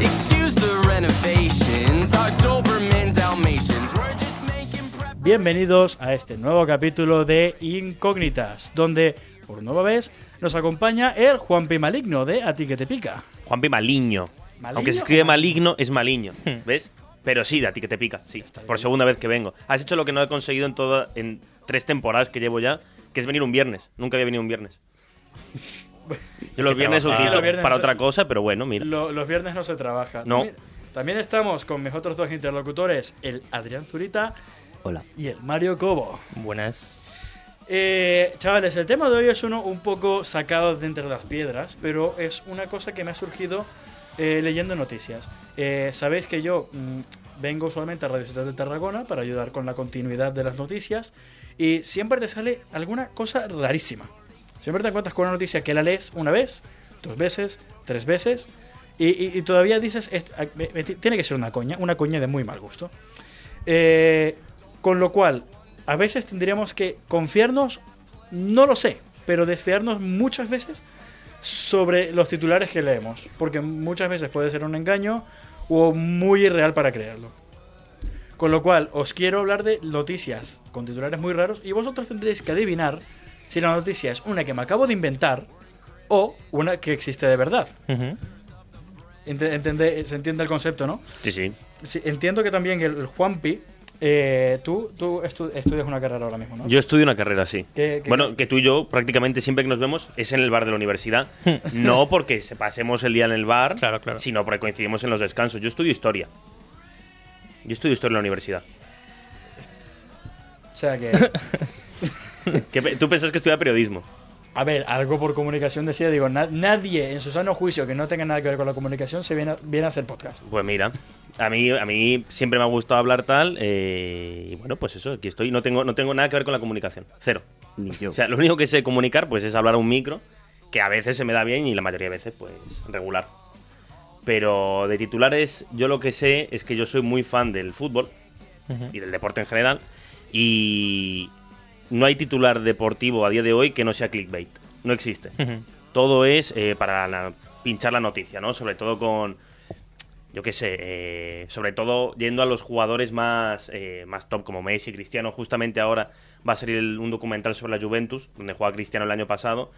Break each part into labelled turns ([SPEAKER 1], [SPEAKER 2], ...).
[SPEAKER 1] Excuse the renovations, our Doberman Dalmatians. We're just making prep.
[SPEAKER 2] Bienvenidos a este nuevo capítulo de Incógnitas, donde por nueva vez nos acompaña el Juanpi Maligno de A ti que te pica.
[SPEAKER 3] Juanpi Maligno.
[SPEAKER 2] ¿Maligno? Hmm.
[SPEAKER 3] Aunque se escribe maligno, es maligno. ¿Ves? Pero sí, de a ti que te pica, sí. Por segunda vez que vengo. Has hecho lo que no he conseguido en toda, en tres temporadas que llevo ya, que es venir un viernes. Nunca había venido un viernes. Yo los viernes
[SPEAKER 2] trabajar. Ah,
[SPEAKER 3] utilizo
[SPEAKER 2] Los viernes
[SPEAKER 3] para
[SPEAKER 2] no-
[SPEAKER 3] otra cosa, pero bueno, mira.
[SPEAKER 2] Lo- los viernes no se trabaja.
[SPEAKER 3] No.
[SPEAKER 2] También, también estamos con mis otros dos interlocutores, el Adrián Zurita
[SPEAKER 4] Hola.
[SPEAKER 2] y el Mario Cobo.
[SPEAKER 4] Buenas.
[SPEAKER 2] Eh, chavales, el tema de hoy es uno un poco sacado de entre las piedras, pero es una cosa que me ha surgido eh, leyendo noticias. Eh, Sabéis que yo mm, vengo usualmente a Radio Ciudad de Tarragona para ayudar con la continuidad de las noticias y siempre te sale alguna cosa rarísima. Siempre te encuentras con una noticia que la lees una vez, dos veces, tres veces y, y- y todavía dices, "Est- a- me- me- tiene que ser una coña, una coña de muy mal gusto. Eh, con lo cual, a veces tendríamos que confiarnos, no lo sé, pero desfiarnos muchas veces sobre los titulares que leemos, porque muchas veces puede ser un engaño o muy irreal para creerlo. Con lo cual, os quiero hablar de noticias con titulares muy raros y vosotros tendréis que adivinar si la noticia es una que me acabo de inventar o una que existe de verdad. Ente- entende- se entiende el concepto, ¿no?
[SPEAKER 3] Sí, sí.
[SPEAKER 2] Sí, entiendo que también el, el Juanpi, eh, tú, tú estu- estudias una carrera ahora mismo, ¿no?
[SPEAKER 3] Yo estudio una carrera así.
[SPEAKER 2] ¿Qué- qué-
[SPEAKER 3] bueno, que tú y yo prácticamente siempre que nos vemos es en el bar de la universidad.
[SPEAKER 2] Hmm.
[SPEAKER 3] no porque se pasemos el día en el bar,
[SPEAKER 4] Claro, claro.
[SPEAKER 3] sino porque coincidimos en los descansos. Yo estudio historia. Yo estudio historia en la universidad.
[SPEAKER 2] O sea que,
[SPEAKER 3] ¿Qué pe- ¿Tú pensás que estudia periodismo?
[SPEAKER 2] a ver, algo por comunicación decía, digo, na- nadie en su sano juicio que no tenga nada que ver con la comunicación se viene a, viene a hacer podcast.
[SPEAKER 3] Pues mira, a mí, a mí siempre me ha gustado hablar tal eh, y bueno, pues eso, aquí estoy. No tengo, no tengo nada que ver con la comunicación, cero.
[SPEAKER 4] Ni yo.
[SPEAKER 3] O sea, lo único que sé comunicar pues es hablar a un micro, que a veces se me da bien y la mayoría de veces pues regular. Pero de titulares yo lo que sé es que yo soy muy fan del fútbol y del deporte en general y no hay titular deportivo a día de hoy que no sea clickbait, no existe. Todo es eh, para la- pinchar la noticia, ¿no? Sobre todo con yo qué sé, eh, sobre todo yendo a los jugadores más, eh, más top como Messi, Cristiano, justamente ahora va a salir el- un documental sobre la Juventus, donde juega Cristiano el año pasado,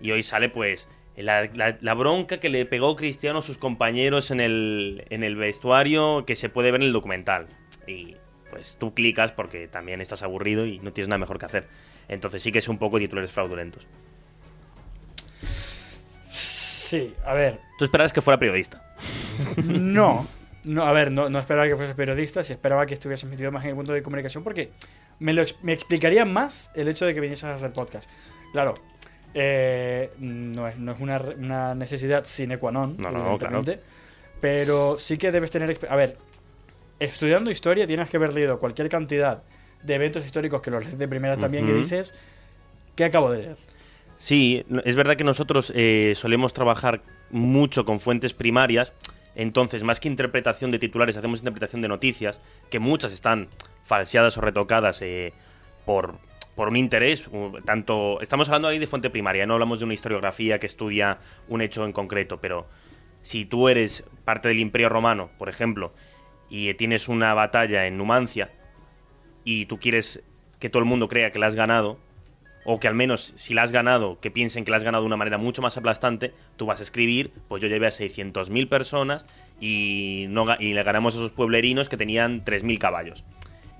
[SPEAKER 3] y hoy sale pues la, la- la bronca que le pegó Cristiano a sus compañeros en el, en el vestuario que se puede ver en el documental. Y pues tú clicas porque también estás aburrido y no tienes nada mejor que hacer. Entonces sí que es un poco titulares fraudulentos.
[SPEAKER 2] Sí, a ver,
[SPEAKER 3] Tú esperabas que fuera periodista.
[SPEAKER 2] no, no, a ver, no, no esperaba que fueses periodista, si esperaba que estuvieses metido más en el mundo de comunicación, porque me, lo, ex- me explicaría más el hecho de que vinieses a hacer podcast. Claro, eh, no es, no es una, re- una necesidad sine qua non,
[SPEAKER 3] No, no, no,
[SPEAKER 2] evidentemente, pero sí que debes tener... exp- A ver, estudiando historia tienes que haber leído cualquier cantidad de eventos históricos que los lees de primera también que
[SPEAKER 3] Ujú.
[SPEAKER 2] dices, ¿qué acabo de leer?
[SPEAKER 3] Sí, no- es verdad que nosotros eh, solemos trabajar mucho con fuentes primarias, entonces más que interpretación de titulares hacemos interpretación de noticias, que muchas están falseadas o retocadas eh, por, por un interés, u- tanto estamos hablando ahí de fuente primaria, no hablamos de una historiografía que estudia un hecho en concreto, pero si tú eres parte del Imperio Romano, por ejemplo, y eh, tienes una batalla en Numancia, y tú quieres que todo el mundo crea que la has ganado, o que al menos si la has ganado, que piensen que la has ganado de una manera mucho más aplastante, tú vas a escribir, pues yo llevé a 600.000 personas y, no, ga- y le ganamos a esos pueblerinos que tenían 3.000 caballos.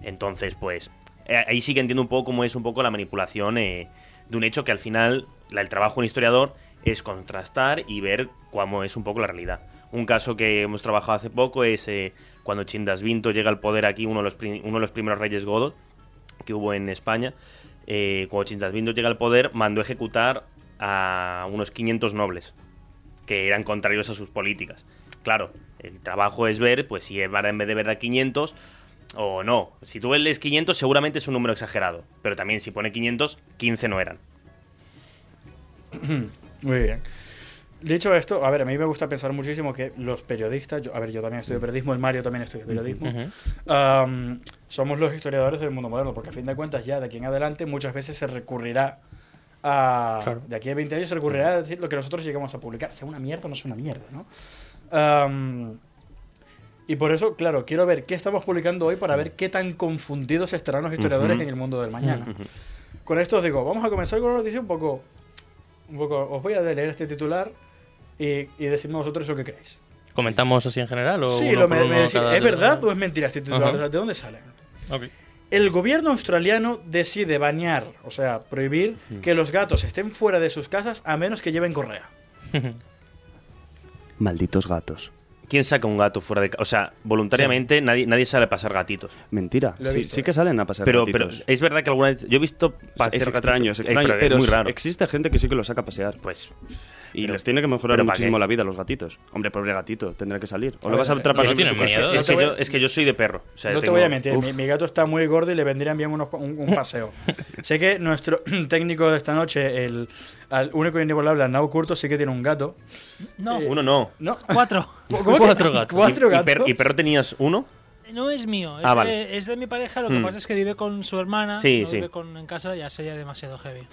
[SPEAKER 3] Entonces, pues eh, ahí sí que entiendo un poco cómo es un poco la manipulación eh, de un hecho que al final la- el trabajo de un historiador es contrastar y ver cómo es un poco la realidad. Un caso que hemos trabajado hace poco es eh, cuando Chindasvinto llega al poder aquí, uno de los, pri- uno de los primeros reyes godos, que hubo en España, eh, cuando Chindasvindo llega al poder, mandó ejecutar a unos 500 nobles que eran contrarios a sus políticas. Claro, el trabajo es ver, pues si era en vez de ver a 500, o no. Si tú lees 500, seguramente es un número exagerado. Pero también si pone 500, 15 no eran.
[SPEAKER 2] Muy bien. Dicho esto, a ver, a mí me gusta pensar muchísimo que los periodistas, yo- a ver, yo también estudio periodismo, el Mario también estudia periodismo, am, somos los historiadores del mundo moderno, porque a fin de cuentas ya de aquí en adelante muchas veces se recurrirá a...
[SPEAKER 4] Claro.
[SPEAKER 2] De aquí a 20 años se recurrirá a decir lo que nosotros llegamos a publicar, sea una mierda o no sea una mierda, ¿no? Am, y por eso, claro, quiero ver qué estamos publicando hoy para ver qué tan confundidos estarán los historiadores
[SPEAKER 3] Ujú.
[SPEAKER 2] en el mundo del mañana. Con esto os digo, vamos a comenzar con una noticia un poco... Un poco os voy a leer este titular y, y decidme vosotros lo que creéis.
[SPEAKER 4] ¿Comentamos así en general? O
[SPEAKER 2] Sí,
[SPEAKER 4] uno
[SPEAKER 2] lo
[SPEAKER 4] por
[SPEAKER 2] me-
[SPEAKER 4] uno
[SPEAKER 2] me decís,
[SPEAKER 4] cada-
[SPEAKER 2] ¿es verdad o es mentira este titular?
[SPEAKER 4] Ajá.
[SPEAKER 2] ¿De dónde sale?
[SPEAKER 4] Ok.
[SPEAKER 2] El gobierno australiano decide bañar, o sea, prohibir que los gatos estén fuera de sus casas a menos que lleven correa.
[SPEAKER 5] Malditos gatos.
[SPEAKER 3] ¿Quién saca un gato fuera de casa? O sea, voluntariamente nadie, nadie sale a pasar gatitos.
[SPEAKER 5] Mentira.
[SPEAKER 2] Lo he
[SPEAKER 5] Sí,
[SPEAKER 2] visto,
[SPEAKER 5] sí
[SPEAKER 2] eh.
[SPEAKER 5] que salen a pasar
[SPEAKER 3] Pero, pero
[SPEAKER 5] gatitos.
[SPEAKER 3] es verdad que alguna vez. Yo he visto
[SPEAKER 5] O sea, es
[SPEAKER 3] pasear
[SPEAKER 5] extraño,
[SPEAKER 3] gatitos.
[SPEAKER 5] es
[SPEAKER 3] Eh,
[SPEAKER 5] extraño,
[SPEAKER 3] pero
[SPEAKER 5] pero
[SPEAKER 3] es muy
[SPEAKER 5] s-
[SPEAKER 3] raro.
[SPEAKER 5] existe gente que sí que los saca a pasear.
[SPEAKER 3] Pues
[SPEAKER 5] Y
[SPEAKER 3] Pero-
[SPEAKER 5] les tiene que mejorar
[SPEAKER 3] ¿pero pa'
[SPEAKER 5] muchísimo
[SPEAKER 3] qué?
[SPEAKER 5] la vida a los gatitos. Hombre, pobre gatito, tendrá que salir. O
[SPEAKER 2] A
[SPEAKER 5] lo
[SPEAKER 2] ver,
[SPEAKER 5] vas a
[SPEAKER 2] a ver,
[SPEAKER 5] atrapar
[SPEAKER 4] ¿no
[SPEAKER 5] siempre
[SPEAKER 4] tienen
[SPEAKER 5] en tu casa.
[SPEAKER 4] miedo?
[SPEAKER 3] es, que
[SPEAKER 2] No te
[SPEAKER 3] yo,
[SPEAKER 2] voy-
[SPEAKER 3] es que yo soy de perro. O sea,
[SPEAKER 2] no te
[SPEAKER 3] Eh, tengo-
[SPEAKER 2] voy a mentir,
[SPEAKER 3] Uf,
[SPEAKER 2] mi, mi gato está muy gordo y le vendrían bien unos, un, un paseo. sé que nuestro técnico de esta noche, el al único y inigualable Arnau Curto, sí que tiene un gato. Eh,
[SPEAKER 6] No,
[SPEAKER 3] Uno no.
[SPEAKER 2] ¿No?
[SPEAKER 6] cuatro.
[SPEAKER 2] ¿Cómo que-
[SPEAKER 4] Cuatro gatos.
[SPEAKER 2] ¿Cuatro
[SPEAKER 3] ¿Y- y
[SPEAKER 2] gatos?
[SPEAKER 3] per- ¿Y perro tenías uno?
[SPEAKER 6] No es mío, es,
[SPEAKER 3] Ah,
[SPEAKER 6] de-
[SPEAKER 3] vale.
[SPEAKER 6] es de mi pareja, lo que
[SPEAKER 3] Hmm.
[SPEAKER 6] pasa es que vive con su hermana,
[SPEAKER 3] Sí,
[SPEAKER 6] no
[SPEAKER 3] sí.
[SPEAKER 6] vive con, en casa, ya sería demasiado heavy.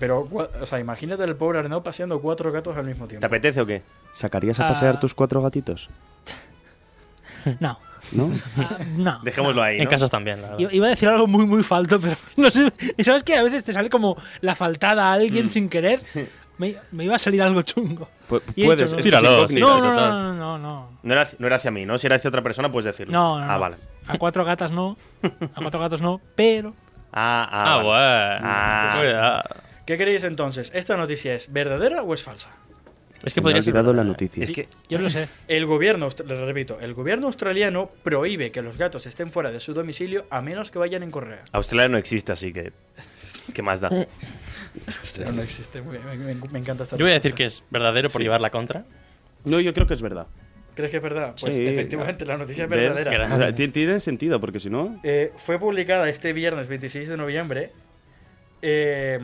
[SPEAKER 2] Pero, cua- o sea, imagínate al pobre Arnau paseando cuatro gatos al mismo
[SPEAKER 3] ¿Te
[SPEAKER 2] tiempo.
[SPEAKER 3] apetece o qué?
[SPEAKER 5] ¿Sacarías a pasear
[SPEAKER 6] Ah.
[SPEAKER 5] tus cuatro gatitos?
[SPEAKER 6] No,
[SPEAKER 5] ¿No?
[SPEAKER 6] ah, no.
[SPEAKER 3] Dejémoslo ahí.
[SPEAKER 4] En
[SPEAKER 3] ¿no?
[SPEAKER 4] casas también, la verdad.
[SPEAKER 6] I- Iba a decir algo muy, muy falto, pero no sé. Y sabes que a veces te sale como la faltada a
[SPEAKER 3] Hmm.
[SPEAKER 6] alguien sin querer. Me, me iba a salir algo chungo.
[SPEAKER 5] Pu-
[SPEAKER 3] Pues
[SPEAKER 6] Y he
[SPEAKER 5] puedes, esto
[SPEAKER 6] dicho, no.
[SPEAKER 5] es
[SPEAKER 4] Tíralo,
[SPEAKER 5] incógnito.
[SPEAKER 6] No,
[SPEAKER 4] sí,
[SPEAKER 6] no,
[SPEAKER 4] total.
[SPEAKER 6] no, no, no, no.
[SPEAKER 3] No era, no era hacia mí, ¿no? Si era hacia otra persona, puedes decirlo.
[SPEAKER 6] No, no,
[SPEAKER 3] Ah,
[SPEAKER 6] no.
[SPEAKER 3] vale.
[SPEAKER 6] A cuatro gatas no. A cuatro gatos no, pero.
[SPEAKER 3] Ah, ah,
[SPEAKER 4] Ah,
[SPEAKER 3] vale.
[SPEAKER 4] bueno. Pues,
[SPEAKER 3] Ah.
[SPEAKER 4] Cuidado.
[SPEAKER 2] ¿Qué creéis entonces? ¿Esta noticia es verdadera o es falsa?
[SPEAKER 4] Es
[SPEAKER 5] Se
[SPEAKER 4] que
[SPEAKER 5] me ha
[SPEAKER 4] podría ser.
[SPEAKER 5] olvidado la
[SPEAKER 4] verdad.
[SPEAKER 5] noticia.
[SPEAKER 3] Es que
[SPEAKER 6] Yo lo sé.
[SPEAKER 2] El gobierno, austra- le repito, el gobierno australiano prohíbe que los gatos estén fuera de su domicilio a menos que vayan en correa.
[SPEAKER 3] Australia no existe, así que. ¿Qué más da?
[SPEAKER 2] No, no existe, muy bien, me, me- me encanta esta
[SPEAKER 4] Yo voy
[SPEAKER 2] respuesta.
[SPEAKER 4] a decir que es verdadero por llevar la contra.
[SPEAKER 5] No, yo creo que es verdad.
[SPEAKER 2] ¿Crees que es verdad? Pues
[SPEAKER 5] Sí.
[SPEAKER 2] efectivamente, la noticia es
[SPEAKER 5] ¿Ves?
[SPEAKER 2] verdadera.
[SPEAKER 5] O sea, ti- tiene sentido, porque si no...
[SPEAKER 2] Eh, fue publicada este viernes 26 de noviembre. Eh,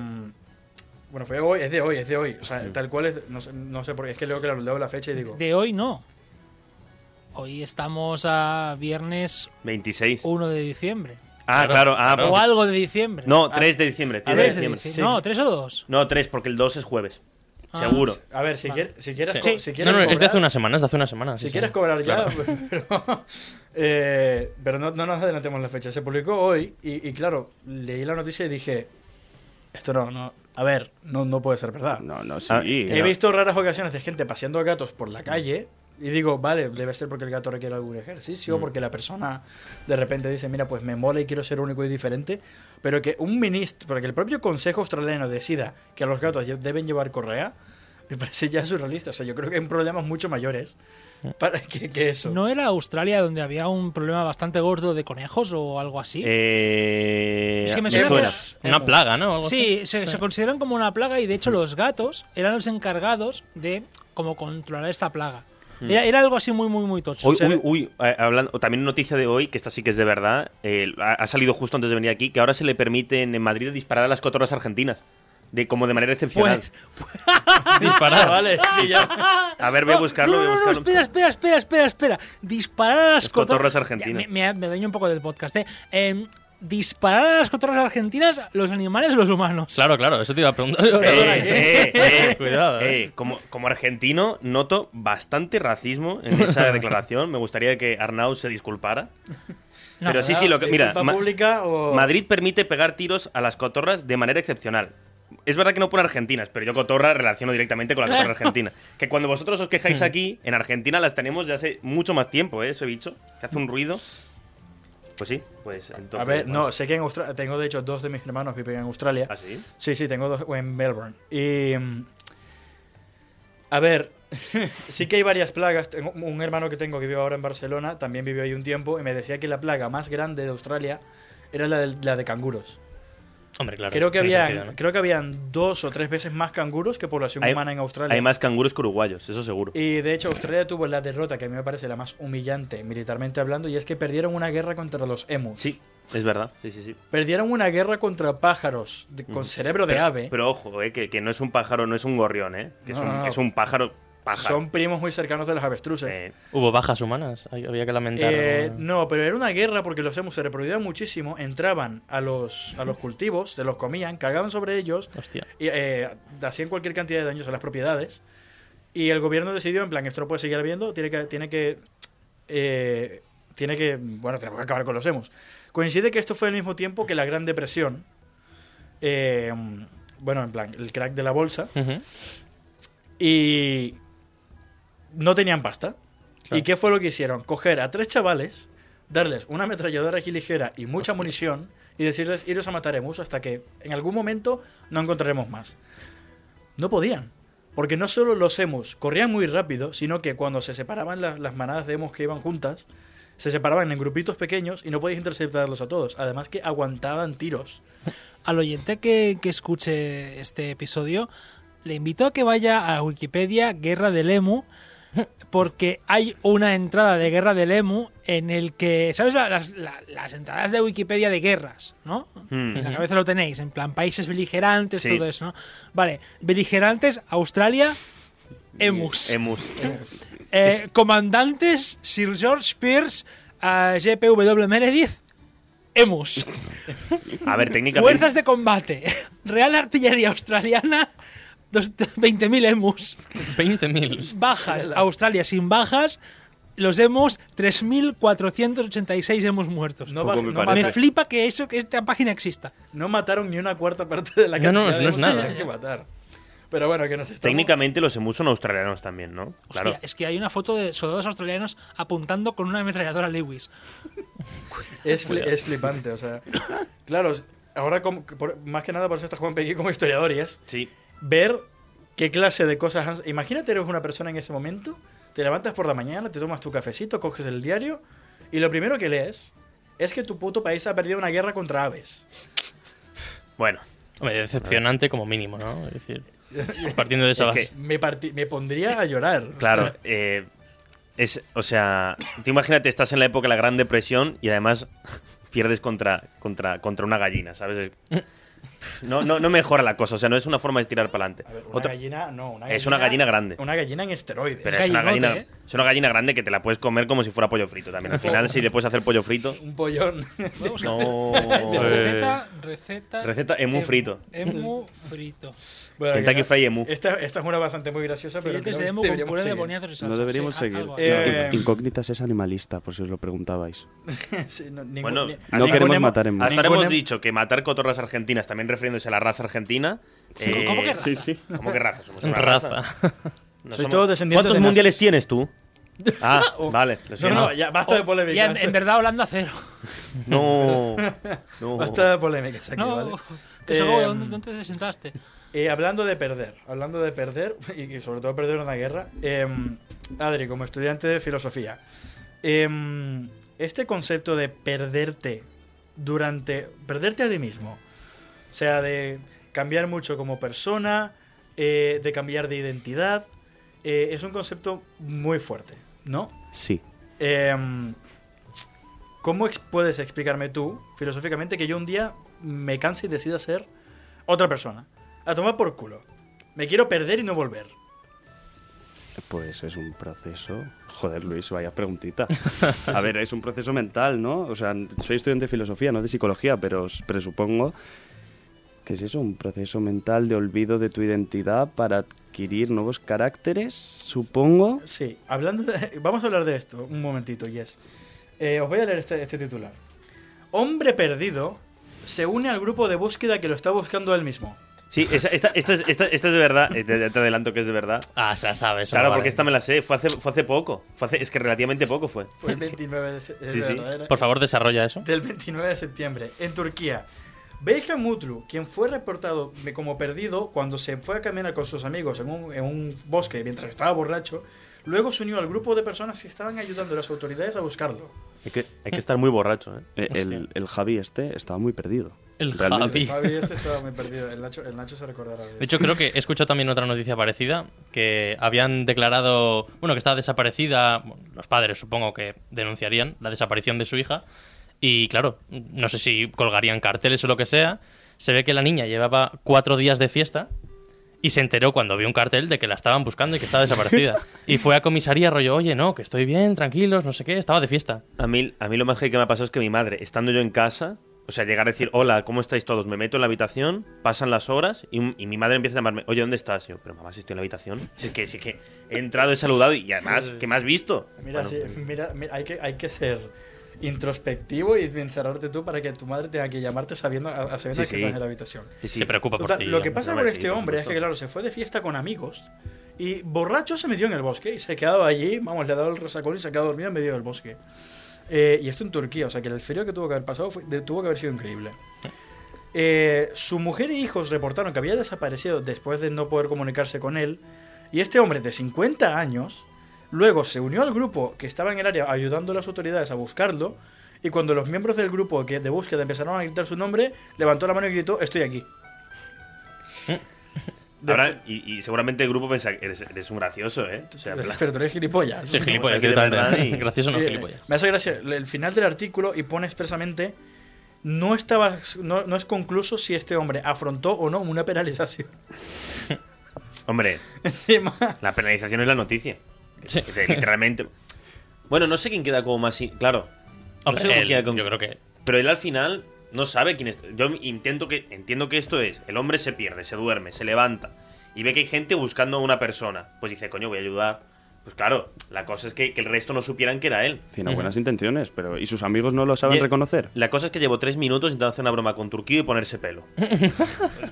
[SPEAKER 2] bueno, fue hoy, es de hoy, es de hoy. O sea, tal cual es. No sé, no sé por qué, es que leo, claro, leo la fecha y digo.
[SPEAKER 6] De hoy no. Hoy estamos a viernes
[SPEAKER 3] 26.
[SPEAKER 6] 1 de diciembre.
[SPEAKER 3] ah, claro. Ah,
[SPEAKER 6] O
[SPEAKER 3] porque-
[SPEAKER 6] algo de diciembre.
[SPEAKER 3] No,
[SPEAKER 6] Ah,
[SPEAKER 3] 3 de diciembre. tío,
[SPEAKER 2] a ver,
[SPEAKER 6] tres de
[SPEAKER 3] de diciembre.
[SPEAKER 6] diciembre.
[SPEAKER 2] sí.
[SPEAKER 6] No, ¿tres o dos?
[SPEAKER 3] No, 3, porque el 2 es jueves.
[SPEAKER 6] Ah.
[SPEAKER 3] Seguro.
[SPEAKER 2] A ver, si, quieres, si quieres.
[SPEAKER 4] Sí.
[SPEAKER 2] co- si
[SPEAKER 4] no,
[SPEAKER 2] quieres
[SPEAKER 4] no, es de hace
[SPEAKER 2] cobrar-
[SPEAKER 4] una semana, es de hace una semana. sí,
[SPEAKER 2] Si
[SPEAKER 4] sí.
[SPEAKER 2] quieres cobrar ya,
[SPEAKER 4] Claro.
[SPEAKER 2] pero, eh, pero no, no nos adelantemos la fecha. Se publicó hoy y, y, claro, leí la noticia y dije, esto no, no a ver, no, no puede ser verdad.
[SPEAKER 5] No, no, sí.
[SPEAKER 3] Ah,
[SPEAKER 2] He
[SPEAKER 3] no.
[SPEAKER 2] visto raras ocasiones de gente paseando a gatos por la calle y digo, vale, debe ser porque el gato requiere algún ejercicio,
[SPEAKER 3] Mm.
[SPEAKER 2] porque la persona de repente dice, mira, pues me mola y quiero ser único y diferente, pero que un ministro, porque el propio Consejo Australiano decida que los gatos lle- deben llevar correa, me parece ya surrealista. O sea, yo creo que hay problemas mucho mayores
[SPEAKER 3] Mm.
[SPEAKER 2] para que, que eso.
[SPEAKER 6] ¿No era Australia donde había un problema bastante gordo de conejos o algo así?
[SPEAKER 3] Eh,
[SPEAKER 6] Es que me suena que era-
[SPEAKER 4] Una plaga, ¿no? Algo
[SPEAKER 6] Sí,
[SPEAKER 4] así.
[SPEAKER 6] se, se consideran como una plaga y de
[SPEAKER 3] Mm.
[SPEAKER 6] hecho los gatos eran los encargados de como controlar esta plaga. Era, era algo así muy, muy, muy tocho.
[SPEAKER 3] Mm. Uy,
[SPEAKER 2] se
[SPEAKER 3] uy,
[SPEAKER 2] ve-
[SPEAKER 3] uy, eh, hablando, también noticia de hoy, que esta sí que es de verdad, eh, ha, ha salido justo antes de venir aquí, que ahora se le permiten en Madrid disparar a las cotorras argentinas, de como de manera excepcional.
[SPEAKER 4] Disparar.
[SPEAKER 2] Chavales, que ya-
[SPEAKER 3] a ver, voy a buscarlo.
[SPEAKER 6] "Ah, No,
[SPEAKER 3] voy a
[SPEAKER 6] no, no,
[SPEAKER 3] buscarlo.
[SPEAKER 6] espera, espera, espera, espera, espera. Disparar a las,
[SPEAKER 3] Las cotorras
[SPEAKER 6] cotor-
[SPEAKER 3] argentinas.
[SPEAKER 6] Ya, Me, me, me dueño un poco del podcast. ¿eh? Eh, disparar a las cotorras argentinas, los animales, los humanos.
[SPEAKER 4] Claro, claro, eso te iba a preguntar. yo.
[SPEAKER 3] Eh, eh, eh,
[SPEAKER 4] Cuidado, eh.
[SPEAKER 3] eh, como, como argentino noto bastante racismo en esa declaración. Me gustaría que Arnau se disculpara.
[SPEAKER 6] No,
[SPEAKER 3] Pero sí, sí, lo que, mira,
[SPEAKER 2] ¿Disculpa
[SPEAKER 3] Ma-
[SPEAKER 2] pública o-
[SPEAKER 3] Madrid permite pegar tiros a las cotorras de manera excepcional. Es verdad que no por argentinas, pero yo cotorra relaciono directamente con la cotorra argentina. Que cuando vosotros os quejáis aquí, en Argentina las tenemos ya hace mucho más tiempo, ¿eh? Ese bicho que hace un ruido. Pues sí, pues entonces...
[SPEAKER 2] A ver,
[SPEAKER 3] bueno.
[SPEAKER 2] no, sé que en Australia, tengo de hecho dos de mis hermanos viven en Australia.
[SPEAKER 3] ¿Ah, sí?
[SPEAKER 2] Sí, sí, tengo dos en Melbourne. Y. mm, A ver, sí que hay varias plagas. Tengo un hermano que tengo que vive ahora en Barcelona, también vivió ahí un tiempo, y me decía que la plaga más grande de Australia era la de, la de canguros.
[SPEAKER 4] Hombre, claro.
[SPEAKER 2] Creo que,
[SPEAKER 4] tiene
[SPEAKER 2] habían,
[SPEAKER 4] sentido, ¿no?
[SPEAKER 2] creo que habían dos o tres veces más canguros que población
[SPEAKER 3] Hay-
[SPEAKER 2] humana en Australia.
[SPEAKER 3] Hay más canguros que uruguayos, eso seguro.
[SPEAKER 2] Y de hecho, Australia tuvo la derrota que a mí me parece la más humillante militarmente hablando, y es que perdieron una guerra contra los emus.
[SPEAKER 3] Sí, es verdad. Sí, sí, sí.
[SPEAKER 2] Perdieron una guerra contra pájaros de- con cerebro de
[SPEAKER 3] Pero-
[SPEAKER 2] ave.
[SPEAKER 3] Pero ojo, eh, que, que no es un pájaro, no es un gorrión, ¿eh? Que es,
[SPEAKER 2] No,
[SPEAKER 3] un,
[SPEAKER 2] no, no.
[SPEAKER 3] es un pájaro pájaro.
[SPEAKER 2] Son primos muy cercanos de los avestruces.
[SPEAKER 3] Eh,
[SPEAKER 4] Hubo bajas humanas, hay- había que lamentar.
[SPEAKER 2] Eh,
[SPEAKER 4] ¿no?
[SPEAKER 2] no, pero era una guerra porque los emus se reproducían muchísimo, entraban a los, a los cultivos, se los comían, cagaban sobre ellos,
[SPEAKER 4] Hostia.
[SPEAKER 2] y, eh, hacían cualquier cantidad de daños a las propiedades. Y el gobierno decidió, en plan, esto no puede seguir habiendo, tiene que... Tiene que, eh, tiene que bueno, tenemos que acabar con los emus. Coincide que esto fue al mismo tiempo que la Gran Depresión. eh, bueno, en plan, el crack de la bolsa.
[SPEAKER 4] Ujú.
[SPEAKER 2] Y no tenían pasta.
[SPEAKER 4] Claro.
[SPEAKER 2] ¿Y qué fue lo que hicieron? Coger a tres chavales, darles una ametralladora aquí ligera y mucha munición y decirles, iros a mataremos hasta que en algún momento no encontraremos más. No podían. Porque no solo los emus corrían muy rápido, sino que cuando se separaban la- las manadas de emus que iban juntas, se separaban en grupitos pequeños y no podías interceptarlos a todos. Además que aguantaban tiros.
[SPEAKER 6] Al oyente que, que escuche este episodio, le invito a que vaya a Wikipedia Guerra del Emu, porque hay una entrada de Guerra del Emu en el que, ¿sabes? La- Las, la- las entradas de Wikipedia de guerras, ¿no?
[SPEAKER 3] hmm.
[SPEAKER 6] En la cabeza lo tenéis, en plan países beligerantes,
[SPEAKER 3] Sí.
[SPEAKER 6] todo eso, ¿no? Vale, beligerantes, Australia, emus.
[SPEAKER 3] Emus.
[SPEAKER 6] Eh, comandantes, Sir George Pierce, eh, GPW Meredith, emus.
[SPEAKER 3] A ver, técnicamente.
[SPEAKER 6] Fuerzas de combate. Real Artillería Australiana. dos- 20.000 emus.
[SPEAKER 4] 20.000.
[SPEAKER 6] Bajas. Australia sin bajas. Los emus, 3.486 emus muertos.
[SPEAKER 2] No,
[SPEAKER 3] Poco
[SPEAKER 2] va-
[SPEAKER 3] me
[SPEAKER 2] no
[SPEAKER 6] Me
[SPEAKER 3] parece.
[SPEAKER 2] mata-
[SPEAKER 6] flipa que, eso, que esta página exista.
[SPEAKER 2] no mataron ni una cuarta parte de la
[SPEAKER 4] No,
[SPEAKER 2] cantidad
[SPEAKER 4] no,
[SPEAKER 2] de
[SPEAKER 4] no es
[SPEAKER 2] emus que
[SPEAKER 4] nada.
[SPEAKER 2] tenían que matar. Pero bueno, que nos estamos...
[SPEAKER 3] Técnicamente los emus son australianos también, ¿no?
[SPEAKER 6] Hostia,
[SPEAKER 3] Claro.
[SPEAKER 6] es que hay una foto de soldados australianos apuntando con una ametralladora Lewis.
[SPEAKER 2] Es, fli- es flipante, o sea. Claro, ahora como- por- más que nada por eso está Juan Pequi como historiador y es
[SPEAKER 3] Sí.
[SPEAKER 2] ver qué clase de cosas... han- Imagínate eres una persona en ese momento, te levantas por la mañana, te tomas tu cafecito, coges el diario y lo primero que lees es que tu puto país ha perdido una guerra contra aves.
[SPEAKER 3] Bueno,
[SPEAKER 4] Hombre, decepcionante como mínimo, ¿no? Es decir, partiendo de esa
[SPEAKER 3] Es que-
[SPEAKER 4] base.
[SPEAKER 2] Me, parti- me pondría a llorar.
[SPEAKER 3] claro. eh, es, o sea, tú imagínate, estás en la época de la Gran Depresión y además pierdes contra, contra, contra una gallina, ¿sabes? No, no, no mejora la cosa, o sea, no es una forma de tirar para adelante.
[SPEAKER 2] A ver, una
[SPEAKER 3] Otra-
[SPEAKER 2] gallina, no, una
[SPEAKER 3] Es una gallina grande.
[SPEAKER 2] Una gallina en esteroides.
[SPEAKER 3] Pero es una,
[SPEAKER 6] Gallinote,
[SPEAKER 3] gallina, es una gallina grande que te la puedes comer como si fuera pollo frito también. Al final, si le puedes hacer pollo frito.
[SPEAKER 2] Un pollón.
[SPEAKER 3] No.
[SPEAKER 6] Receta, receta. em,
[SPEAKER 3] Receta emu frito.
[SPEAKER 6] Emu frito.
[SPEAKER 2] Bueno,
[SPEAKER 3] Kentucky
[SPEAKER 2] que-
[SPEAKER 3] Fried Emu.
[SPEAKER 2] Esta, esta es una bastante muy graciosa, pero
[SPEAKER 6] Filetes
[SPEAKER 2] creo
[SPEAKER 6] de
[SPEAKER 2] que
[SPEAKER 6] emu con
[SPEAKER 2] deberíamos
[SPEAKER 6] puré de
[SPEAKER 2] seguir.
[SPEAKER 6] boniatos y salsa.
[SPEAKER 5] No deberíamos
[SPEAKER 6] Sí,
[SPEAKER 5] seguir.
[SPEAKER 6] algo así.
[SPEAKER 2] Eh,
[SPEAKER 5] No, Incógnitas es animalista, por si os lo preguntabais.
[SPEAKER 2] Sí, no, ningún-
[SPEAKER 3] Bueno,
[SPEAKER 2] ni-
[SPEAKER 3] no
[SPEAKER 2] ningún
[SPEAKER 5] queremos
[SPEAKER 2] emo-
[SPEAKER 5] matar emus.
[SPEAKER 3] Hasta
[SPEAKER 2] ningún
[SPEAKER 3] ahora hemos
[SPEAKER 2] emo-
[SPEAKER 3] dicho que matar cotorras argentinas, también refiriéndose a la raza argentina. eh,
[SPEAKER 6] Sí, ¿cómo que raza? Sí,
[SPEAKER 5] sí.
[SPEAKER 3] ¿Cómo que raza? Somos una raza.
[SPEAKER 4] Raza.
[SPEAKER 3] No
[SPEAKER 2] Soy
[SPEAKER 3] somos-
[SPEAKER 2] todo descendiente
[SPEAKER 3] ¿Cuántos
[SPEAKER 2] de
[SPEAKER 3] mundiales
[SPEAKER 2] nazis.
[SPEAKER 3] tienes tú? Ah, vale. lo
[SPEAKER 2] No,
[SPEAKER 3] siento.
[SPEAKER 2] no, ya, basta de polémica.
[SPEAKER 6] Oh, Ya, en, en verdad Holanda cero.
[SPEAKER 3] No. no.
[SPEAKER 2] Basta de polémicas aquí,
[SPEAKER 6] No,
[SPEAKER 2] ¿vale?
[SPEAKER 6] que se acabó,
[SPEAKER 2] Eh,
[SPEAKER 6] ¿dónde, dónde te sentaste?
[SPEAKER 2] Eh, hablando de perder, hablando de perder, y y sobre todo perder una guerra, em, Adri, como estudiante de filosofía, em, este concepto de perderte durante. perderte a ti mismo, o sea, de cambiar mucho como persona, eh, de cambiar de identidad, eh, es un concepto muy fuerte, ¿no?
[SPEAKER 5] Sí.
[SPEAKER 2] Em, ¿Cómo ex- puedes explicarme tú, filosóficamente, que yo un día me canse y decida ser otra persona? A tomar por culo. Me quiero perder y no volver.
[SPEAKER 5] Pues es un proceso. Joder, Luis, vaya preguntita. A ver, es un proceso mental, ¿no? O sea, soy estudiante de filosofía, no de psicología, pero os presupongo que es eso, un proceso mental de olvido de tu identidad para adquirir nuevos caracteres, supongo.
[SPEAKER 2] Sí, hablando de- vamos a hablar de esto un momentito, Yes. Eh, os voy a leer este, este titular. Hombre perdido se une al grupo de búsqueda que lo está buscando él mismo.
[SPEAKER 3] Sí, esa- esta, esta, es- esta- esta es de verdad. eh, Te, te adelanto que es de verdad.
[SPEAKER 4] Ah, se la sabe. eso
[SPEAKER 3] Claro,
[SPEAKER 4] no
[SPEAKER 3] porque
[SPEAKER 4] vale.
[SPEAKER 3] esta me la sé. Fue hace, fue hace poco. Fue hace- es que relativamente poco fue.
[SPEAKER 2] Fue el 29 Pues de, se- es
[SPEAKER 3] Sí, sí.
[SPEAKER 2] verdad, ¿eh? era-
[SPEAKER 4] Por favor, desarrolla eso.
[SPEAKER 2] del 29 de septiembre en Turquía. Beyhan Mutlu, quien fue reportado me- como perdido cuando se fue a caminar con sus amigos en un, en un bosque mientras estaba borracho, luego se unió al grupo de personas que estaban ayudando a las autoridades a buscarlo.
[SPEAKER 3] Hay que, hay que estar muy borracho, ¿eh?
[SPEAKER 5] Eh, El, el Javi este estaba muy perdido.
[SPEAKER 4] El
[SPEAKER 5] Realmente.
[SPEAKER 4] Javi.
[SPEAKER 2] Javi, este estaba muy perdido. El Nacho, el Nacho se recordará.
[SPEAKER 4] De hecho, creo que he escuchado también otra noticia parecida, que habían declarado, bueno, que estaba desaparecida, bueno, los padres supongo que denunciarían la desaparición de su hija, y claro, no sé si colgarían carteles o lo que sea, se ve que la niña llevaba cuatro días de fiesta y se enteró cuando vio un cartel de que la estaban buscando y que estaba desaparecida. Y fue a comisaría rollo, oye, no, que estoy bien, tranquilos, no sé qué, estaba de fiesta.
[SPEAKER 3] A mí, a mí lo más que me ha pasado es que mi madre, estando yo en casa, o sea, llegar a decir, hola, ¿cómo estáis todos? Me meto en la habitación, pasan las horas y, y mi madre empieza a llamarme, oye, ¿dónde estás? Y yo, pero mamá, si estoy en la habitación. Si es que, si es que he entrado, he saludado y además, ¿qué me has visto?
[SPEAKER 2] Mira,
[SPEAKER 3] Bueno,
[SPEAKER 2] sí, mira, mira, hay, que, hay que ser introspectivo y encerrarte tú para que tu madre tenga que llamarte sabiendo, a, a sabiendas
[SPEAKER 3] Sí,
[SPEAKER 2] que
[SPEAKER 3] sí.
[SPEAKER 2] estás en la habitación.
[SPEAKER 3] sí, sí.
[SPEAKER 4] Se preocupa por
[SPEAKER 2] O sea,
[SPEAKER 4] ti.
[SPEAKER 2] lo que
[SPEAKER 4] ¿no?
[SPEAKER 2] pasa
[SPEAKER 3] hombre,
[SPEAKER 2] con
[SPEAKER 3] sí,
[SPEAKER 2] este
[SPEAKER 3] por
[SPEAKER 2] hombre es que,
[SPEAKER 3] supuesto.
[SPEAKER 2] claro, se fue de fiesta con amigos y borracho se metió en el bosque y se ha quedado allí, vamos, le ha dado el resacón y se ha quedado dormido en medio del bosque. Eh, y esto en Turquía, o sea que el frío que tuvo que haber pasado fue- de- tuvo que haber sido increíble. Eh, su mujer e hijos reportaron que había desaparecido después de no poder comunicarse con él y este hombre de 50 años luego se unió al grupo que estaba en el área ayudando a las autoridades a buscarlo y cuando los miembros del grupo que de búsqueda empezaron a gritar su nombre, levantó la mano y gritó, estoy aquí.
[SPEAKER 3] Ahora, y, y seguramente el grupo piensa que eres, eres un gracioso, ¿eh? O sea, en plan-
[SPEAKER 2] Pero tú eres gilipollas.
[SPEAKER 4] Sí, gilipollas,
[SPEAKER 3] Aquí de
[SPEAKER 4] directamente.
[SPEAKER 3] verdad y-
[SPEAKER 4] Gracioso no,
[SPEAKER 2] Eh,
[SPEAKER 4] gilipollas.
[SPEAKER 2] Me hace gracia el final del artículo y pone expresamente no estaba no, no es concluso si este hombre afrontó o no una penalización.
[SPEAKER 3] Hombre,
[SPEAKER 2] Encima.
[SPEAKER 3] la penalización es la noticia.
[SPEAKER 4] Sí.
[SPEAKER 3] Es decir, Literalmente. Bueno, no sé quién queda como más. in- Claro. No
[SPEAKER 4] Hombre,
[SPEAKER 3] sé cómo
[SPEAKER 4] él,
[SPEAKER 3] pues queda con-
[SPEAKER 4] Yo creo que
[SPEAKER 3] Pero él al final no sabe quién es. Yo intento que, entiendo que esto es: el hombre se pierde, se duerme, se levanta y ve que hay gente buscando a una persona. Pues dice, coño, voy a ayudar. Pues claro, la cosa es que, que el resto no supieran que era él.
[SPEAKER 5] Tiene buenas intenciones, pero ¿y sus amigos no lo saben
[SPEAKER 3] Ye-
[SPEAKER 5] reconocer?
[SPEAKER 3] La cosa es que llevo tres minutos intentando hacer una broma con Turquío y ponerse pelo.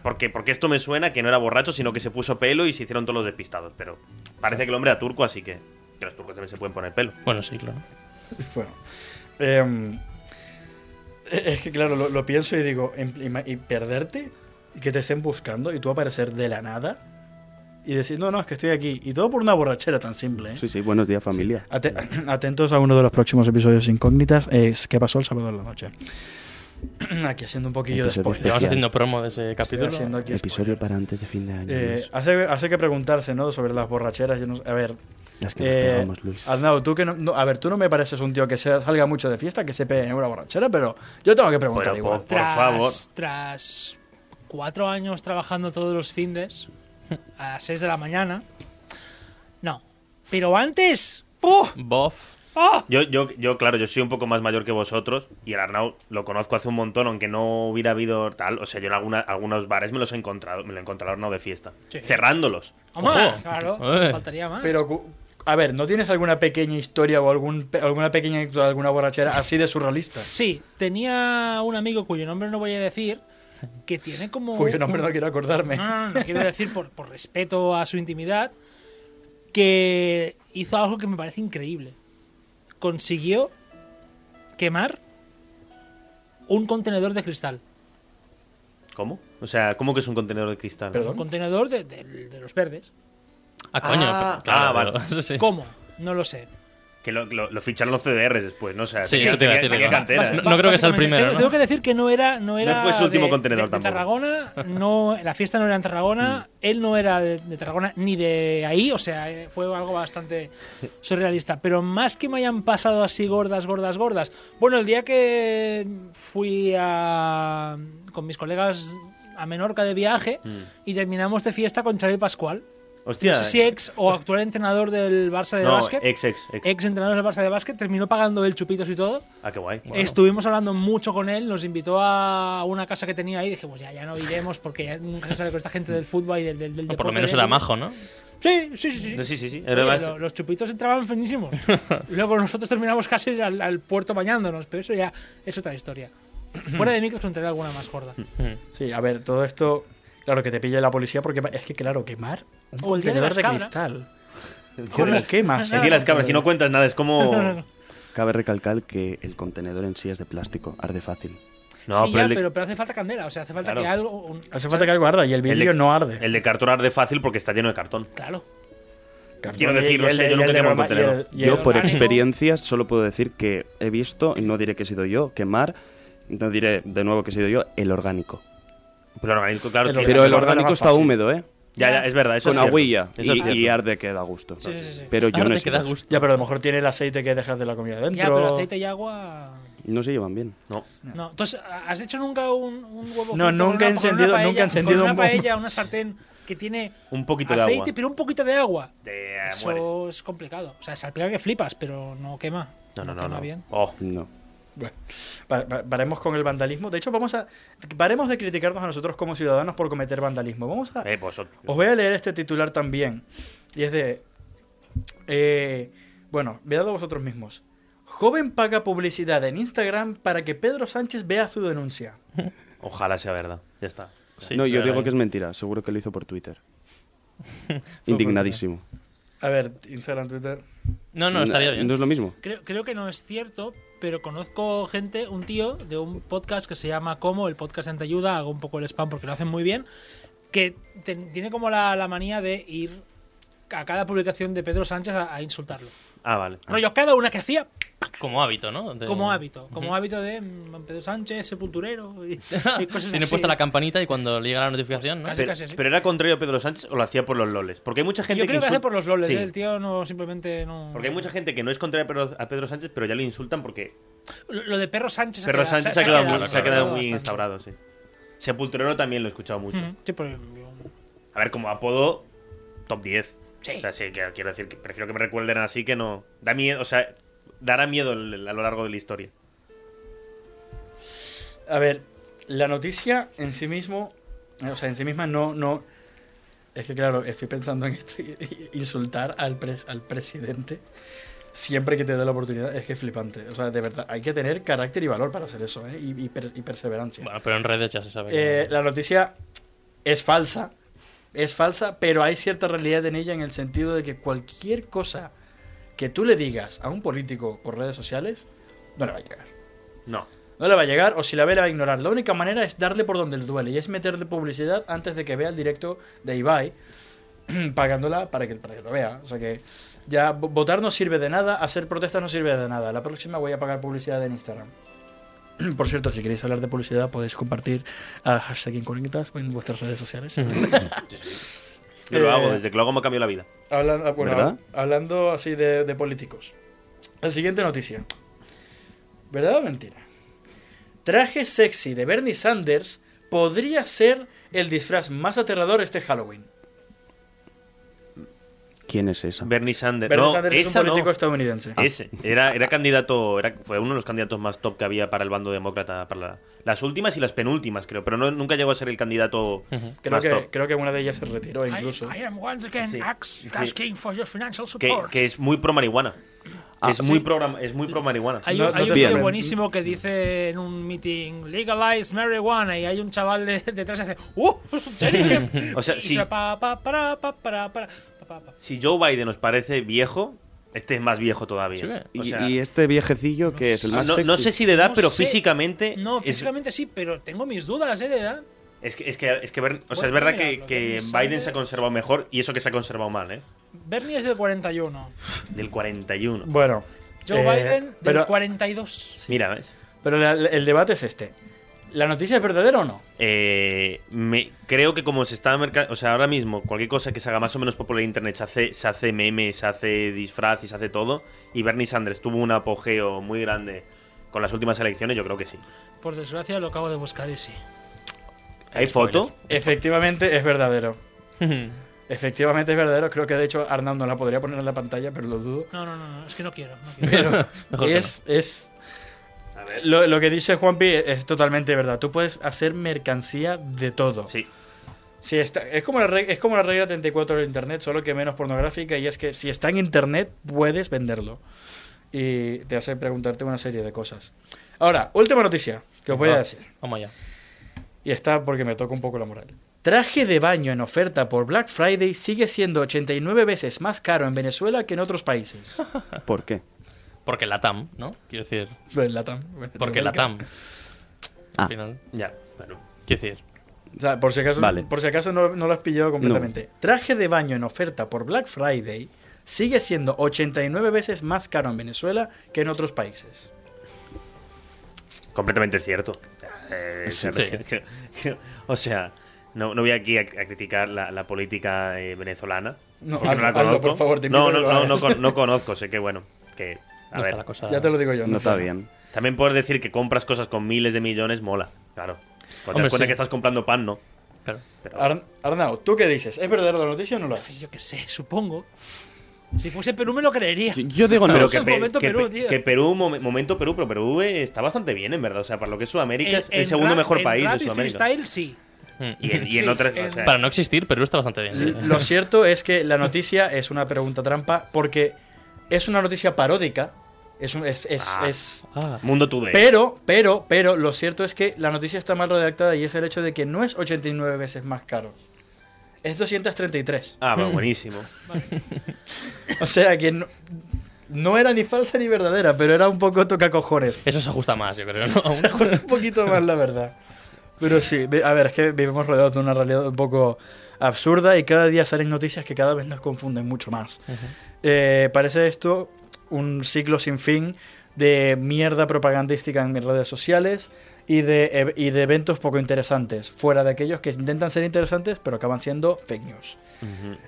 [SPEAKER 3] porque, porque esto me suena que no era borracho, sino que se puso pelo y se hicieron todos los despistados. Pero parece que el hombre era turco, así que, que los turcos también se pueden poner pelo.
[SPEAKER 4] Bueno, sí, claro.
[SPEAKER 2] Bueno. em, e-, es que claro, lo, lo pienso y digo, em- ima- y perderte y que te estén buscando y tú aparecer de la nada y decir, no, no, es que estoy aquí. Y todo por una borrachera tan simple. ¿eh?
[SPEAKER 5] Sí, sí, buenos días, familia.
[SPEAKER 2] Ate- atentos a uno de los próximos episodios incógnitas. Es ¿Qué pasó el sábado en la noche? Aquí haciendo un poquillo de
[SPEAKER 5] Episodio
[SPEAKER 2] spoiler.
[SPEAKER 4] Llevamos
[SPEAKER 5] Especial.
[SPEAKER 4] haciendo promo de ese
[SPEAKER 2] Estoy
[SPEAKER 4] capítulo.
[SPEAKER 2] haciendo aquí
[SPEAKER 5] Episodio
[SPEAKER 2] spoiler.
[SPEAKER 5] para antes de fin de año.
[SPEAKER 2] Eh,
[SPEAKER 5] Luis.
[SPEAKER 2] hace, hace que preguntarse, ¿no? Sobre las borracheras. yo no sé- a ver.
[SPEAKER 5] Las que nos
[SPEAKER 2] eh,
[SPEAKER 5] pegamos, Luis.
[SPEAKER 2] Arnau, tú que no, no- A ver, tú no me pareces un tío que se- salga mucho de fiesta, que se pegue en una borrachera, pero yo tengo que preguntar
[SPEAKER 3] Pero,
[SPEAKER 2] igual.
[SPEAKER 5] pues,
[SPEAKER 3] po- Por favor.
[SPEAKER 6] Tras cuatro años trabajando todos los findes, a las seis de la mañana. No. Pero antes. ¡uh! ¡Ah! ¡puh!
[SPEAKER 4] Bof.
[SPEAKER 3] Yo, yo, yo, claro, yo soy un poco más mayor que vosotros y el Arnau lo conozco hace un montón, aunque no hubiera habido tal. O sea, yo en alguna- algunos bares me los he encontrado, me lo he encontrado Arnau de fiesta.
[SPEAKER 6] Sí.
[SPEAKER 3] Cerrándolos.
[SPEAKER 6] Hombre,
[SPEAKER 4] Ojo.
[SPEAKER 6] claro,
[SPEAKER 4] Eh.
[SPEAKER 6] faltaría más.
[SPEAKER 2] Pero, cu- a ver, ¿no tienes alguna pequeña historia o algún, pe- alguna pequeña anécdota de alguna borrachera así de surrealista?
[SPEAKER 6] Sí, tenía un amigo cuyo nombre no voy a decir, que tiene como...
[SPEAKER 2] Cuyo nombre no quiero acordarme.
[SPEAKER 6] No, no, no, no quiero decir por, por respeto a su intimidad, que hizo algo que me parece increíble. Consiguió quemar un contenedor de cristal.
[SPEAKER 3] ¿Cómo? O sea, ¿cómo que es un contenedor de cristal?
[SPEAKER 2] Perdón.
[SPEAKER 6] Un contenedor de, de- de los verdes.
[SPEAKER 4] Ah, coño.
[SPEAKER 3] Ah.
[SPEAKER 4] pero- claro,
[SPEAKER 3] Ah, vale.
[SPEAKER 4] pero- eso sí.
[SPEAKER 6] ¿Cómo? No lo sé.
[SPEAKER 3] Que lo, lo- lo ficharon los CDRs después, ¿no? O sea,
[SPEAKER 4] Sí,
[SPEAKER 3] tenía-
[SPEAKER 4] eso te iba a
[SPEAKER 3] tenía-
[SPEAKER 4] decir,
[SPEAKER 3] tenía
[SPEAKER 4] ¿no?
[SPEAKER 3] cantera,
[SPEAKER 4] Vas-
[SPEAKER 3] ¿eh?
[SPEAKER 4] no- creo que sea el
[SPEAKER 6] Básicamente,
[SPEAKER 4] primero,
[SPEAKER 6] Tengo,
[SPEAKER 4] ¿no?
[SPEAKER 6] tengo que decir que no era. No, era
[SPEAKER 3] fue su último
[SPEAKER 6] de-
[SPEAKER 3] contenedor
[SPEAKER 6] de, de
[SPEAKER 3] tampoco. Mm.
[SPEAKER 6] Tarragona, no, la fiesta no era en Tarragona, él no era de, de Tarragona ni de ahí, o sea, eh, fue algo bastante surrealista. Pero más que me hayan pasado así gordas, gordas, gordas. Bueno, el día que fui a, con mis colegas a Menorca de viaje
[SPEAKER 3] Mm.
[SPEAKER 6] y terminamos de fiesta con Xavi Pascual.
[SPEAKER 3] Hostia.
[SPEAKER 6] No sé si ex o actual entrenador del Barça de
[SPEAKER 3] eh. no,
[SPEAKER 6] básquet.
[SPEAKER 3] ex, ex, ex.
[SPEAKER 6] ex entrenador del Barça de básquet, terminó pagando el chupitos y todo.
[SPEAKER 3] Ah, qué guay.
[SPEAKER 6] Estuvimos hablando mucho con él, nos invitó a una casa que tenía ahí, dijimos, ya, ya no iremos porque ya nunca se sabe con esta gente del fútbol y del, del, del
[SPEAKER 4] No, por
[SPEAKER 6] deporte
[SPEAKER 4] lo menos
[SPEAKER 6] de-
[SPEAKER 4] era majo, ¿no?
[SPEAKER 6] Sí, sí, sí. sí.
[SPEAKER 3] No, sí, sí, sí.
[SPEAKER 6] Oye,
[SPEAKER 3] Era más-
[SPEAKER 6] lo- los chupitos entraban finísimos. Luego nosotros terminamos casi al, al puerto bañándonos, pero eso ya es otra historia. Fuera de mí que os contaré alguna más gorda.
[SPEAKER 2] Sí, a ver, todo esto. Claro, que te pille la policía porque es que, claro, quemar un
[SPEAKER 6] O el día de
[SPEAKER 2] contenedor
[SPEAKER 6] las
[SPEAKER 2] de
[SPEAKER 6] cabras.
[SPEAKER 2] cristal. ¿Cómo quemas?
[SPEAKER 3] El día de las cabras, si no cuentas nada, es como.
[SPEAKER 6] No, no, no.
[SPEAKER 5] Cabe recalcar que el contenedor en sí es de plástico, arde fácil.
[SPEAKER 3] No, pero
[SPEAKER 6] sí, ya,
[SPEAKER 3] el de-
[SPEAKER 6] pero, pero hace falta candela, o sea, hace falta
[SPEAKER 3] Claro.
[SPEAKER 6] que algo... un-
[SPEAKER 2] Hace falta que algo arda y el
[SPEAKER 3] el de-
[SPEAKER 2] vidrio no arde.
[SPEAKER 3] El de cartón arde fácil porque está lleno de cartón.
[SPEAKER 6] Claro.
[SPEAKER 2] Cartón
[SPEAKER 3] quiero
[SPEAKER 2] y-
[SPEAKER 3] decir,
[SPEAKER 2] y
[SPEAKER 3] no
[SPEAKER 2] el-
[SPEAKER 3] sé, yo
[SPEAKER 2] y el
[SPEAKER 3] nunca
[SPEAKER 2] de
[SPEAKER 3] tengo un
[SPEAKER 2] broma- y
[SPEAKER 3] contenedor.
[SPEAKER 2] el- y
[SPEAKER 5] Yo,
[SPEAKER 2] el
[SPEAKER 5] por
[SPEAKER 2] orgánico.
[SPEAKER 5] experiencias, solo puedo decir que he visto, y no diré que he sido yo, quemar no diré de nuevo que he sido yo, el orgánico.
[SPEAKER 3] Pero el orgánico, claro,
[SPEAKER 2] El
[SPEAKER 3] tiene-
[SPEAKER 5] Pero el
[SPEAKER 2] orgánico
[SPEAKER 5] orgánico
[SPEAKER 2] es
[SPEAKER 5] está
[SPEAKER 2] más fácil.
[SPEAKER 5] húmedo, ¿eh?
[SPEAKER 3] Ya, ya, es verdad. Eso
[SPEAKER 5] Con
[SPEAKER 3] es cierto.
[SPEAKER 5] agüilla
[SPEAKER 3] Eso es
[SPEAKER 5] y,
[SPEAKER 3] cierto.
[SPEAKER 5] y arde que da gusto.
[SPEAKER 6] Sí, sí, sí.
[SPEAKER 5] Pero yo
[SPEAKER 4] Ahora
[SPEAKER 5] no,
[SPEAKER 4] te
[SPEAKER 5] he
[SPEAKER 4] queda
[SPEAKER 5] sido.
[SPEAKER 4] gusto.
[SPEAKER 2] Ya, pero a lo mejor tiene el aceite que dejas de la comida dentro.
[SPEAKER 6] Ya, pero aceite y agua.
[SPEAKER 5] no se llevan bien.
[SPEAKER 3] No.
[SPEAKER 6] No, entonces, ¿has hecho nunca un, un huevo
[SPEAKER 2] No,
[SPEAKER 6] frito con
[SPEAKER 2] nunca he
[SPEAKER 6] una- con
[SPEAKER 2] encendido-
[SPEAKER 6] una paella-
[SPEAKER 2] nunca he encendido
[SPEAKER 6] con una
[SPEAKER 2] un huevo.
[SPEAKER 6] paella, una sartén que tiene
[SPEAKER 3] Un poquito de
[SPEAKER 6] aceite,
[SPEAKER 3] agua.
[SPEAKER 6] pero un poquito de agua?
[SPEAKER 3] Te
[SPEAKER 6] Eso
[SPEAKER 3] mueres.
[SPEAKER 6] es complicado. O sea, salpica que flipas, pero no quema.
[SPEAKER 3] No, no, no.
[SPEAKER 6] quema
[SPEAKER 3] no.
[SPEAKER 6] bien.
[SPEAKER 3] Oh,
[SPEAKER 5] No.
[SPEAKER 2] Bueno, va- va- varemos con el vandalismo. De hecho, vamos a. Varemos de criticarnos a nosotros como ciudadanos por cometer vandalismo. Vamos a.
[SPEAKER 3] eh, pues, otro.
[SPEAKER 2] Os voy a leer este titular también. Y es de. eh, bueno, veadlo vosotros mismos. Joven paga publicidad en Instagram para que Pedro Sánchez vea su denuncia.
[SPEAKER 3] Ojalá sea verdad. Ya está.
[SPEAKER 4] Sí,
[SPEAKER 5] no, yo
[SPEAKER 4] pero
[SPEAKER 5] digo
[SPEAKER 4] ahí-
[SPEAKER 5] que es mentira. Seguro que lo hizo por Twitter. Indignadísimo.
[SPEAKER 2] A ver, Instagram, Twitter.
[SPEAKER 4] No, no, estaría bien.
[SPEAKER 5] No es lo mismo.
[SPEAKER 6] Creo, creo que no es cierto, pero conozco gente, un tío de un podcast que se llama Como, el podcast de ayuda, hago un poco el spam porque lo hacen muy bien, que ten- tiene como la, la manía de ir a cada publicación de Pedro Sánchez a, a insultarlo.
[SPEAKER 3] Ah, vale.
[SPEAKER 6] Rollo, cada una que hacía
[SPEAKER 4] Como hábito, ¿no? De-
[SPEAKER 6] como hábito, como
[SPEAKER 4] Ujú.
[SPEAKER 6] hábito de mm, Pedro Sánchez, sepulturero y, y cosas
[SPEAKER 4] Tiene
[SPEAKER 6] así.
[SPEAKER 4] puesta la campanita y cuando le llega la notificación, ¿no?
[SPEAKER 6] Casi,
[SPEAKER 3] Pero,
[SPEAKER 6] casi así.
[SPEAKER 3] pero era contrario a Pedro Sánchez o lo hacía por los loles. Porque hay mucha gente
[SPEAKER 6] Yo creo que
[SPEAKER 3] insul-
[SPEAKER 6] hace por los loles,
[SPEAKER 3] Sí.
[SPEAKER 6] ¿eh? el tío no simplemente no...
[SPEAKER 3] Porque hay mucha gente que no es contraria a Pedro- a Pedro Sánchez, pero ya lo insultan porque
[SPEAKER 6] Lo lo de Perro Sánchez
[SPEAKER 3] Perro
[SPEAKER 6] quedado-
[SPEAKER 3] Sánchez se ha quedado,
[SPEAKER 4] quedado-
[SPEAKER 3] muy,
[SPEAKER 4] se
[SPEAKER 3] se ha quedado muy
[SPEAKER 6] bastante.
[SPEAKER 3] instaurado, sí. Sepulturero también lo he escuchado mucho.
[SPEAKER 6] Ujú. Sí, pero yo-
[SPEAKER 3] A ver, como apodo, top 10.
[SPEAKER 6] Sí.
[SPEAKER 3] O sea, sí, que- quiero decir que prefiero que me recuerden así que no. Da miedo, o sea, dará miedo el- el- a lo largo de la historia.
[SPEAKER 2] A ver, la noticia en sí mismo. O sea, en sí misma no. no es que claro, estoy pensando en esto. y- y- Insultar al, pres- al presidente siempre que te da la oportunidad es que es flipante. O sea, de verdad, hay que tener carácter y valor para hacer eso, ¿eh? Y, y per- y perseverancia.
[SPEAKER 4] Bueno, pero en redes ya se sabe. que-
[SPEAKER 2] Eh, la noticia es falsa, es falsa, pero hay cierta realidad en ella en el sentido de que cualquier cosa que tú le digas a un político por redes sociales, no le va a llegar.
[SPEAKER 3] No.
[SPEAKER 2] No le va a llegar o si la ve la va a ignorar. La única manera es darle por donde le duele y es meterle publicidad antes de que vea el directo de Ibai, pagándola para que, para que lo vea. O sea que ya vo- votar no sirve de nada, hacer protestas no sirve de nada. La próxima voy a pagar publicidad en Instagram. Por cierto, si queréis hablar de publicidad podéis compartir a hashtag Incógnitas en vuestras redes sociales.
[SPEAKER 3] Yo lo
[SPEAKER 2] Eh,
[SPEAKER 3] hago, desde que lo hago me ha cambiado la vida.
[SPEAKER 2] Hablan- ah, bueno,
[SPEAKER 5] ¿Verdad?
[SPEAKER 2] Hablando así de, de políticos. La siguiente noticia. ¿Verdad o mentira? Traje sexy de Bernie Sanders podría ser el disfraz más aterrador este Halloween.
[SPEAKER 5] ¿Quién es esa?
[SPEAKER 3] Bernie Sanders.
[SPEAKER 2] Bernie
[SPEAKER 3] Eh, no,
[SPEAKER 2] Sanders es
[SPEAKER 3] esa
[SPEAKER 2] un político
[SPEAKER 3] no. Ah,
[SPEAKER 2] estadounidense.
[SPEAKER 3] Ese. Era, era candidato, era, fue uno de los candidatos más top que había para el bando demócrata. Para la- las últimas y las penúltimas, creo. Pero no, nunca llegó a ser el candidato
[SPEAKER 2] Creo
[SPEAKER 3] más
[SPEAKER 2] que,
[SPEAKER 3] top.
[SPEAKER 2] creo que una de ellas se retiró
[SPEAKER 6] I,
[SPEAKER 2] incluso.
[SPEAKER 6] I am once again
[SPEAKER 3] Sí,
[SPEAKER 6] ax-
[SPEAKER 3] sí.
[SPEAKER 6] asking for your financial
[SPEAKER 3] Que,
[SPEAKER 6] support.
[SPEAKER 3] que es muy pro marihuana.
[SPEAKER 2] Ah,
[SPEAKER 3] es, muy pro, es muy pro marihuana.
[SPEAKER 6] Hay,
[SPEAKER 2] No-
[SPEAKER 6] un-
[SPEAKER 2] no
[SPEAKER 6] hay
[SPEAKER 2] te
[SPEAKER 6] un vídeo
[SPEAKER 5] sorprende.
[SPEAKER 6] buenísimo que dice en un meeting legalize marijuana y hay un chaval de- detrás y hace ¡Uh! ¿En serio?
[SPEAKER 3] O sea,
[SPEAKER 6] y
[SPEAKER 3] sí.
[SPEAKER 6] se va pa, pa, para, pa, para, para, pa, pa, pa.
[SPEAKER 3] Si Joe Biden nos parece viejo, este es más viejo todavía.
[SPEAKER 4] Sí, ¿eh?
[SPEAKER 3] O
[SPEAKER 5] Y,
[SPEAKER 3] sea,
[SPEAKER 5] y este viejecillo que es el
[SPEAKER 3] ah,
[SPEAKER 5] más
[SPEAKER 3] no,
[SPEAKER 5] sexy?
[SPEAKER 3] no sé si de edad,
[SPEAKER 6] No
[SPEAKER 3] pero
[SPEAKER 6] sé.
[SPEAKER 3] físicamente.
[SPEAKER 6] No,
[SPEAKER 3] Eh, es-
[SPEAKER 6] físicamente sí, pero tengo mis dudas ¿eh, de edad.
[SPEAKER 3] Es, que, es que, es que ver- o sea, es
[SPEAKER 6] Bueno,
[SPEAKER 3] verdad
[SPEAKER 6] mira,
[SPEAKER 3] que, que
[SPEAKER 6] lo que ¿eh? me
[SPEAKER 3] Biden
[SPEAKER 6] sale-
[SPEAKER 3] se ha conservado mejor y eso que se ha conservado mal, ¿eh?
[SPEAKER 6] Bernie es del 41,
[SPEAKER 3] Del 41.
[SPEAKER 2] Bueno.
[SPEAKER 6] Joe
[SPEAKER 2] eh,
[SPEAKER 6] Biden del
[SPEAKER 2] pero
[SPEAKER 6] 42.
[SPEAKER 3] Mira, ¿ves?
[SPEAKER 2] pero la- la- el debate es este. ¿La noticia es verdadera o no?
[SPEAKER 3] Eh, me, creo que como se está merca- o sea, ahora mismo cualquier cosa que se haga más o menos popular en internet se hace, se hace meme, se hace disfraz y se hace todo. Y Bernie Sanders tuvo un apogeo muy grande con las últimas elecciones, yo creo que sí.
[SPEAKER 6] Por desgracia lo acabo de buscar y sí.
[SPEAKER 3] ¿Hay foto?
[SPEAKER 2] Efectivamente es verdadero. Efectivamente es verdadero. Creo que de hecho Arnaldo la podría poner en la pantalla, pero lo dudo.
[SPEAKER 6] No, no, no, no, es que no quiero. No quiero.
[SPEAKER 2] Pero
[SPEAKER 4] Mejor que
[SPEAKER 2] es, es- Lo, lo que dice Juanpi es, es totalmente verdad. Tú puedes hacer mercancía de todo.
[SPEAKER 3] Sí.
[SPEAKER 2] Si está- es, como la reg- es como la regla 34 del Internet, solo que menos pornográfica, y es que si está en Internet puedes venderlo. Y te hace preguntarte una serie de cosas. Ahora, última noticia que os voy a
[SPEAKER 4] Ah,
[SPEAKER 2] decir.
[SPEAKER 4] Vamos allá.
[SPEAKER 2] Y está porque me toca un poco la moral. Traje de baño en oferta por Black Friday sigue siendo 89 veces más caro en Venezuela que en otros países.
[SPEAKER 5] ¿Por qué?
[SPEAKER 4] Porque la TAM, ¿no? Quiero decir,
[SPEAKER 2] En Latam.
[SPEAKER 4] porque la TAM.
[SPEAKER 5] Ah.
[SPEAKER 4] Al final,
[SPEAKER 3] Ya, bueno.
[SPEAKER 4] quiero decir,
[SPEAKER 2] O sea, por si acaso,
[SPEAKER 5] Vale.
[SPEAKER 2] por si acaso no, no lo has pillado completamente. Traje de baño en oferta por Black Friday sigue siendo 89 veces más caro en Venezuela que en otros países.
[SPEAKER 3] completamente cierto. Eh,
[SPEAKER 5] Sí.
[SPEAKER 3] que- que- que- o sea, no, no voy aquí a, a criticar la, la política eh, venezolana.
[SPEAKER 2] No,
[SPEAKER 3] porque
[SPEAKER 2] hazlo, hazlo, por favor, te invito
[SPEAKER 3] no,
[SPEAKER 2] a que
[SPEAKER 3] no,
[SPEAKER 2] lo
[SPEAKER 3] no,
[SPEAKER 2] hagas.
[SPEAKER 3] no con- no conozco, sé que bueno, que a
[SPEAKER 4] no
[SPEAKER 3] ver.
[SPEAKER 4] está la cosa.
[SPEAKER 2] Ya te lo digo yo.
[SPEAKER 5] No está bien.
[SPEAKER 3] También poder decir que compras cosas con miles de millones mola, claro. Cuando te
[SPEAKER 4] Hombre,
[SPEAKER 3] das cuenta
[SPEAKER 4] sí.
[SPEAKER 3] que estás comprando pan, no.
[SPEAKER 4] Claro.
[SPEAKER 3] Pero,
[SPEAKER 2] Arn- Arnau, ¿tú qué dices? ¿Es verdadera la noticia o no lo es?
[SPEAKER 6] Yo qué sé, supongo. Si fuese Perú me lo creería.
[SPEAKER 5] Yo digo no.
[SPEAKER 3] pero
[SPEAKER 6] es
[SPEAKER 3] que,
[SPEAKER 6] el
[SPEAKER 3] Pe-
[SPEAKER 6] momento
[SPEAKER 3] que
[SPEAKER 6] Perú,
[SPEAKER 3] Pe-
[SPEAKER 6] tío.
[SPEAKER 3] que Perú, mom- momento Perú, pero Perú eh, está bastante bien, en verdad. O sea, para lo que es Sudamérica, es el segundo
[SPEAKER 6] rap-
[SPEAKER 3] mejor
[SPEAKER 6] en
[SPEAKER 3] país
[SPEAKER 6] rap
[SPEAKER 3] de
[SPEAKER 6] y
[SPEAKER 3] Sudamérica.
[SPEAKER 6] freestyle, sí.
[SPEAKER 3] Y en, y en
[SPEAKER 6] Sí,
[SPEAKER 3] otras.
[SPEAKER 6] en-
[SPEAKER 3] o sea,
[SPEAKER 4] Para no existir, Perú está bastante bien. sí.
[SPEAKER 2] Lo cierto es que la noticia es una pregunta trampa porque es una noticia paródica. Es un, es, es-
[SPEAKER 3] Ah.
[SPEAKER 2] es-
[SPEAKER 4] Ah,
[SPEAKER 3] Mundo Today.
[SPEAKER 2] Pero, pero, pero, lo cierto es que la noticia está mal redactada y es el hecho de que no es 89 veces más caro. Es 233.
[SPEAKER 3] Ah, bueno, buenísimo.
[SPEAKER 2] O sea que no, no era ni falsa ni verdadera, pero era un poco toca cojones.
[SPEAKER 4] eso se ajusta más, yo creo. ¿no?
[SPEAKER 2] Se acuerda un poquito más, la verdad. Pero sí, ve- a ver, es que vivimos rodeados de una realidad un poco absurda y cada día salen noticias que cada vez nos confunden mucho más. Eh, parece esto un ciclo sin fin de mierda propagandística en mis redes sociales y de, ev- y de eventos poco interesantes, fuera de aquellos que intentan ser interesantes pero acaban siendo fake news.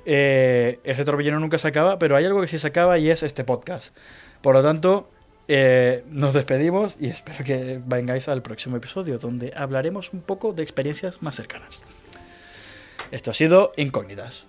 [SPEAKER 2] Eh, ese torbellino nunca se acaba, pero hay algo que sí se acaba y es este podcast. Por lo tanto, eh, nos despedimos y espero que vengáis al próximo episodio donde hablaremos un poco de experiencias más cercanas. Esto ha sido Incógnitas.